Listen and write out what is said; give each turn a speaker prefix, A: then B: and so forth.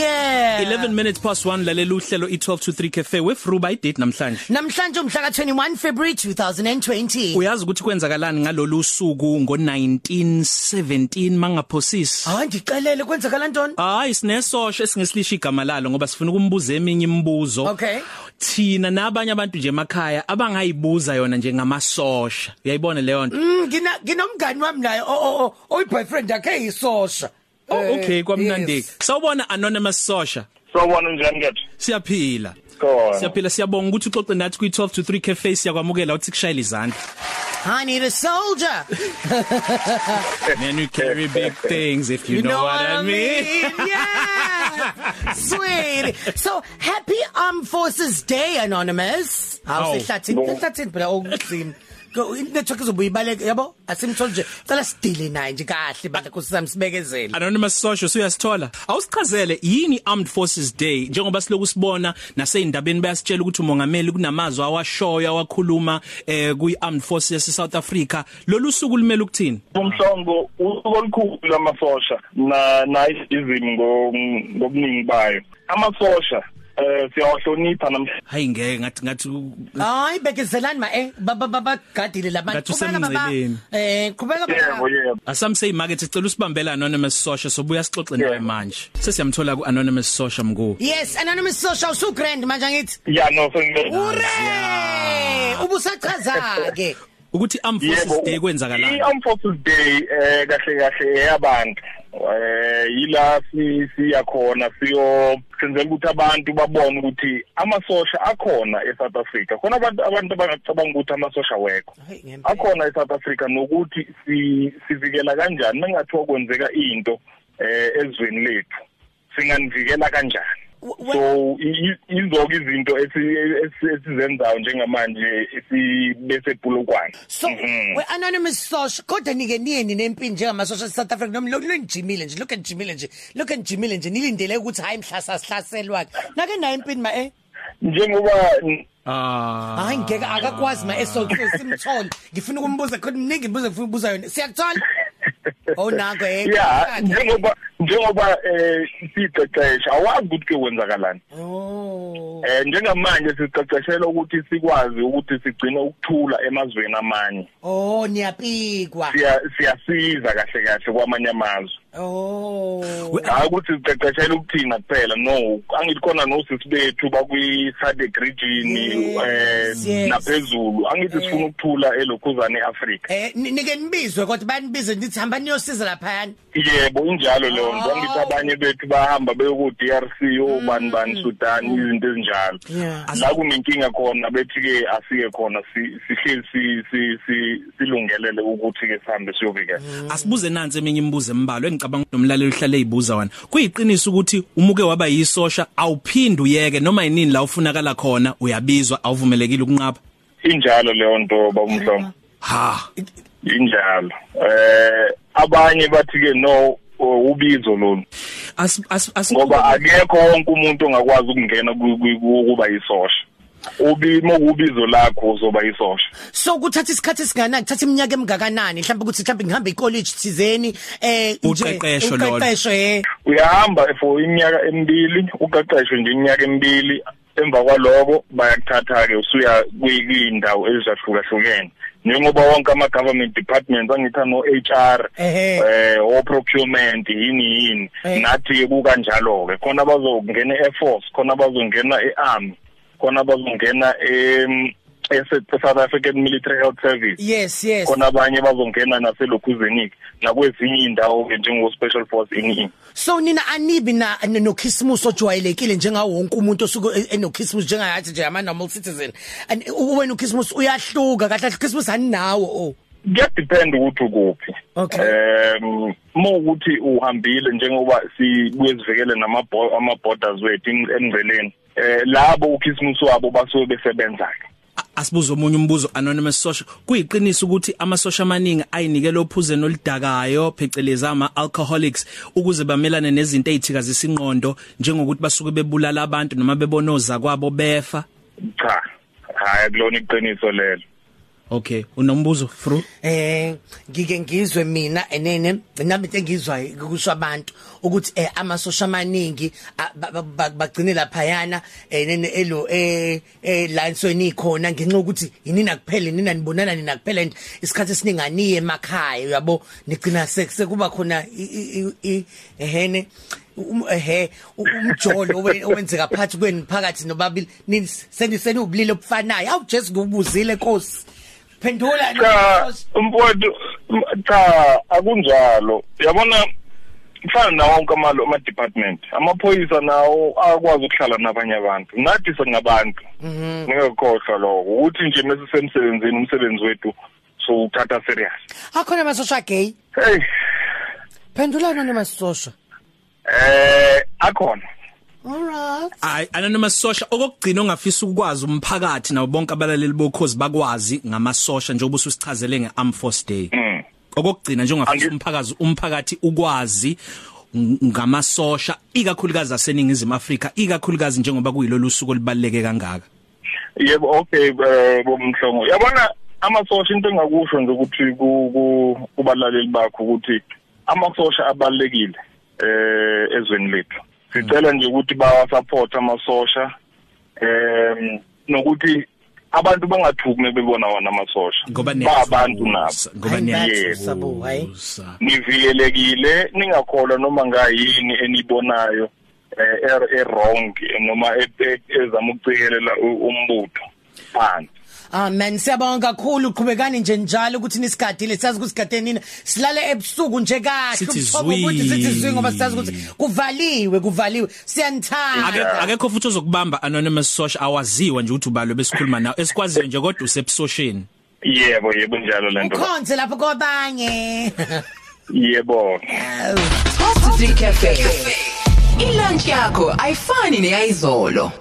A: Yeah.
B: 11 minutes past 1 lalela uhlelo i12 to 3 cafe weFruba idate namhlanje.
A: Namhlanje umhla ka21 February 2020.
B: Uyazi ukuthi kwenzakalani ngalolu suku ngo1917 mangaphosisi.
A: Hayi ndicelele Ah, kwenzakala ntoni?
B: Hayi sinesosho esingeslisha igama lalo ngoba sifuna ukumbuza eminye imibuzo.
A: Okay.
B: Thina nabanye abantu nje emakhaya abangayibuza yona njengamasosha. Uyayibona leyo nto?
A: Mm ngina ginomngani wami naye o o oy boyfriend yakhe yisosha.
B: Oh, okay
A: Eh,
B: kwamnandi.
A: yes.
B: Sawubona anonymous sosha.
C: sawubona unjani kepha
B: Siyaphila.
C: khona
B: Siyaphila siyabonga ukuthi uxoxe nathi kwi12 to 3 cafe siyakwamukela uthi kushayela izandla.
A: I need a soldier.
B: Man, you carry big things if you,
A: You know what I mean? Yeah. Sweet. So happy Armed Forces Day anonymous.
B: Hawu.
A: Awusehlathini, sehlathini phela okuthini. Go network izobuyibaleka yabo? Asimthole nje. Cela sidile naye nje kahle bantla kusami sibekezele.
B: Anonymous Social siyasithola. Awusichazele yini Armed Forces Day njengoba siloku sibona naseyindabeni bayasitshela ukuthi umongameli kunamazwi awashoya awakhuluma eh kuyi Armed Forces yase South Africa. Lolu suku limele ukuthini?
C: umhlongo ulukhulu lamasosha na nayizizimu ngo- ngobuningi bayo amasosha eh siyawahlonipha namhlanje
B: Hayi ngeke ngathi ngathi
A: Hayi bekezelani ma eh babagadile labantu
B: Ngathi usemngceleni.
A: eh qhubeka
C: yebo
A: baba
C: yebo
B: asamsay market sicela usibambela Anonymous Social sobuya sixoxe naye
C: Yeah.
B: manje. Sesiyamthola ku Anonymous Social mku.
A: Yes anonymous social so grand manje ngithi
C: ya no sengile
A: ure ubusachaza ke
B: Ukuthi Armed Forces Day kwenzakalani?
C: i-amforces day eh kahle kahle eyabantu eh yila si- siya khona siyo senzela ukuthi abantu babone ukuthi amasosha akhona eSouth e, Africa khona abantu abantu abangacabanga ukuthi amasosha wekho
A: Hayi, ngempela.
C: akhona eSouth Africa nokuthi si- sivikela kanjani mangathiwa kwenzeka into eh ezweni lethu singanivikela kanjani
A: W- w-
C: so i- i- izoke izinto esi- esi- esizenzayo njengamanje esibese bulukwane Mhm.
A: so
C: Mm-hmm.
A: we anonymous social kodwa nike niyeni nempini njengamasosha eSouth Africa noma lo njimile nje look and jimile nje look and jimile nje nilindele ukuthi hayi mhlasa sihlaselwa ke nake naye impini ma eh
C: njengoba n-
B: Ah.
A: hayi ngeke akakwazi ma esolto simthole ngifuna ukumbuza kodwa mningi imbuzo ngifuna ukubuza yona siyakuthola Oh nango eh
C: ya njengoba njengoba eh siqeqesha awazi ukuthi kwenzakalani
A: Oh.
C: eh njengamanje siqeqeshela ukuthi sikwazi ukuthi sigcine ukuthula emazweni amanye
A: Oh, niyapikwa.
C: siya siyasiza kahle kahle kwamanye amazwe
A: Oh.
C: hayi ukuthi siqeqeshela ukuthina kuphela no angikhona nosisi bethu bakwi-sadec region
A: Yes,
C: eh
A: yes.
C: naphezulu angithi sifuna ukuthula elokhuzane e-africa
A: Eh ni- nike nibizwe kodwa banibize nithi hamba niyosiza lapha.
C: yebo injalo leyo nto angithi
A: Oh.
C: abanye bethu bahamba beyoku-drc obani bani sudan izinto ezinjalo
A: Mm. Yeah.
C: la kunenkinga khona bethi-ke asiye khona si- sihleli si- si- si- silungelele ukuthi-ke sihambe siyovikela
A: Mm.
B: Asibuze nansi eminye imibuzo embalwa engicabanga ukuthi nomlaleli uhlale ezibuza wena. Kuyiqiniso ukuthi umuke waba yisosha awuphindi uyeke noma yinini la ufunakala khona uyabizwa awuvumelekile ukunqaba.
C: injalo leyo nto babumhlomo
B: Ha.
C: injalo eh abanye bathi ke no uh, ubizo lolu
B: As as as
C: ngoba akekho wonke umuntu ongakwazi ukungena ku- ku- ku- ukuba yisosha ubimo kubizo lakho uzoba yisosha
A: So kuthatha isikhathi singanani, kuthatha iminyaka emgakanani, mhlawumbe ukuthi mhlawumbe ngihamba i-college thizeni eh nje,
B: Uqeqesho lolo.
A: uqeqesho eh.
C: uyahamba for iminyaka emibili uqeqeshwe nje iminyaka emibili emva kwaloko bayakuthatha ke usuya kwiyindawo ezahlukahlukene njengoba wonke ama government departments angitha no HR
A: Ehhe.
C: eh o procurement yini yini
A: Eh.
C: nathi ku kanjalo ke khona bazongena e force khona bazongena e army khona bazongena em e South African Military Health Service
A: Yes, yes.
C: khona abanye bazongena naselokhuzeni nakwezinye indawo ke njengo special force ini ini
A: So nina anibi na no Christmas ojwayelekile njengawo wonke umuntu osuke eh, eno Christmas njengayathi nje ama normal citizen. And wena u Christmas uyahluka kahle kahle Christmas aninawo oh.
C: kuyadepend ukuthi ukuphi
A: Okay.
C: um mawukuthi uhambile njengoba sibuye sivikele namabo- ama-borders wethu em- emveleni eh labo ukhisimusi wabo basuke besebenza ke
B: asibuze omunye umbuzo anonymous social. Kuyiqiniso ukuthi amasosha amaningi ayinikele ophuzeni olidakayo phecelezi ama alcoholics ukuze bamelane nezinto ezithikazisa inqondo njengokuthi basuke bebulala abantu noma bebonoza kwabo befa.
C: cha hhayi akulona iqiniso lelo
B: Okay, unombuzo fru?
A: eh ngike ngizwe mina enene nami into engizwayo kusho abantu ukuthi eh amasosha amaningi a- ba- ba- ba- bagcine lapha yana enene elo eh eh lansweni ikhona ngenxa ukuthi inina kuphela nina nibonana nina kuphela and isikhathi esininganiye emakhaya uyabo nigcina sekuse kuba khona i- i- i- ehene um- ehe u- umjolo owe- owenzeka phakathi kwenu phakathi nobabili nini seniseni ubulili obufanayo awu Jesu ngubuzile Nkosi phendula
C: cha
A: Nkosi.
C: umfowethu m- cha akunjalo yabona mfana nawo wonke amalo ama-department amaphoyisa nawo akwazi ukuhlala nabanye abantu nathi singabantu ngekhohlwa lokho ukuthi nje mesisemsebenzini umsebenzi wethu siwuthatha serious
A: akhona amasosha gay
C: hey
A: phendula anonymous sosha
C: eh akhona
A: alright
B: Hayi, anonymous sosha okugcina ongafisa ukwazi umphakathi nabo bonke abalaleli bokhozi bakwazi ngamasosha njengoba ususichazele ngearm force day.
C: Mm.
B: Okugcina nje ongafisa
C: Angi-
B: umphakathi umphakathi ukwazi ng- ngamasosha ikakhulukazi aseningizimu Afrika ikakhulukazi njengoba kuyilolu suku libaleke kangaka.
C: yebo okay eh, bomhlongo yabona amasosha into engakusho nje ukuthi ku- ku- kubalaleli bakho ukuthi amasosha abalekile eh ezweni lethu sicela nje ukuthi bawasupport amasosha em nokuthi abantu bangathuki mebebona wona amasosha
B: Ngoba
C: babantu nabo
B: niyazi ngoba
A: Hayi,
B: niyazi
A: bathi sabo, hayi.
C: nivikelekile ningakholwa noma ngayini enibonayo eh e- e-wrong noma e- e- ezama ukucikelela u- umbutho phansi
A: amen siyabonga kakhulu uqhubekani nje njalo ukuthi nisigadile siyazi ukuthi sigade nina silale ebusuku nje kahle
B: Sithi
A: ubuthongo ukuthi
B: zwi.
A: sithi zwi ngoba siyazi ukuthi kuvaliwe kuvaliwe siyanithanda
B: Ake akekho futhi ozokubamba anonymous sosha awaziwa nje ukuthi ubalwe besikhuluma nawe esikwaziyo nje kodwa usebusosheni.
C: yebo yebo njalo lento
A: ukhonze lapho kwabanye
C: yebo
D: Positive Cafe. Ilunch yakho ayifani neyizolo.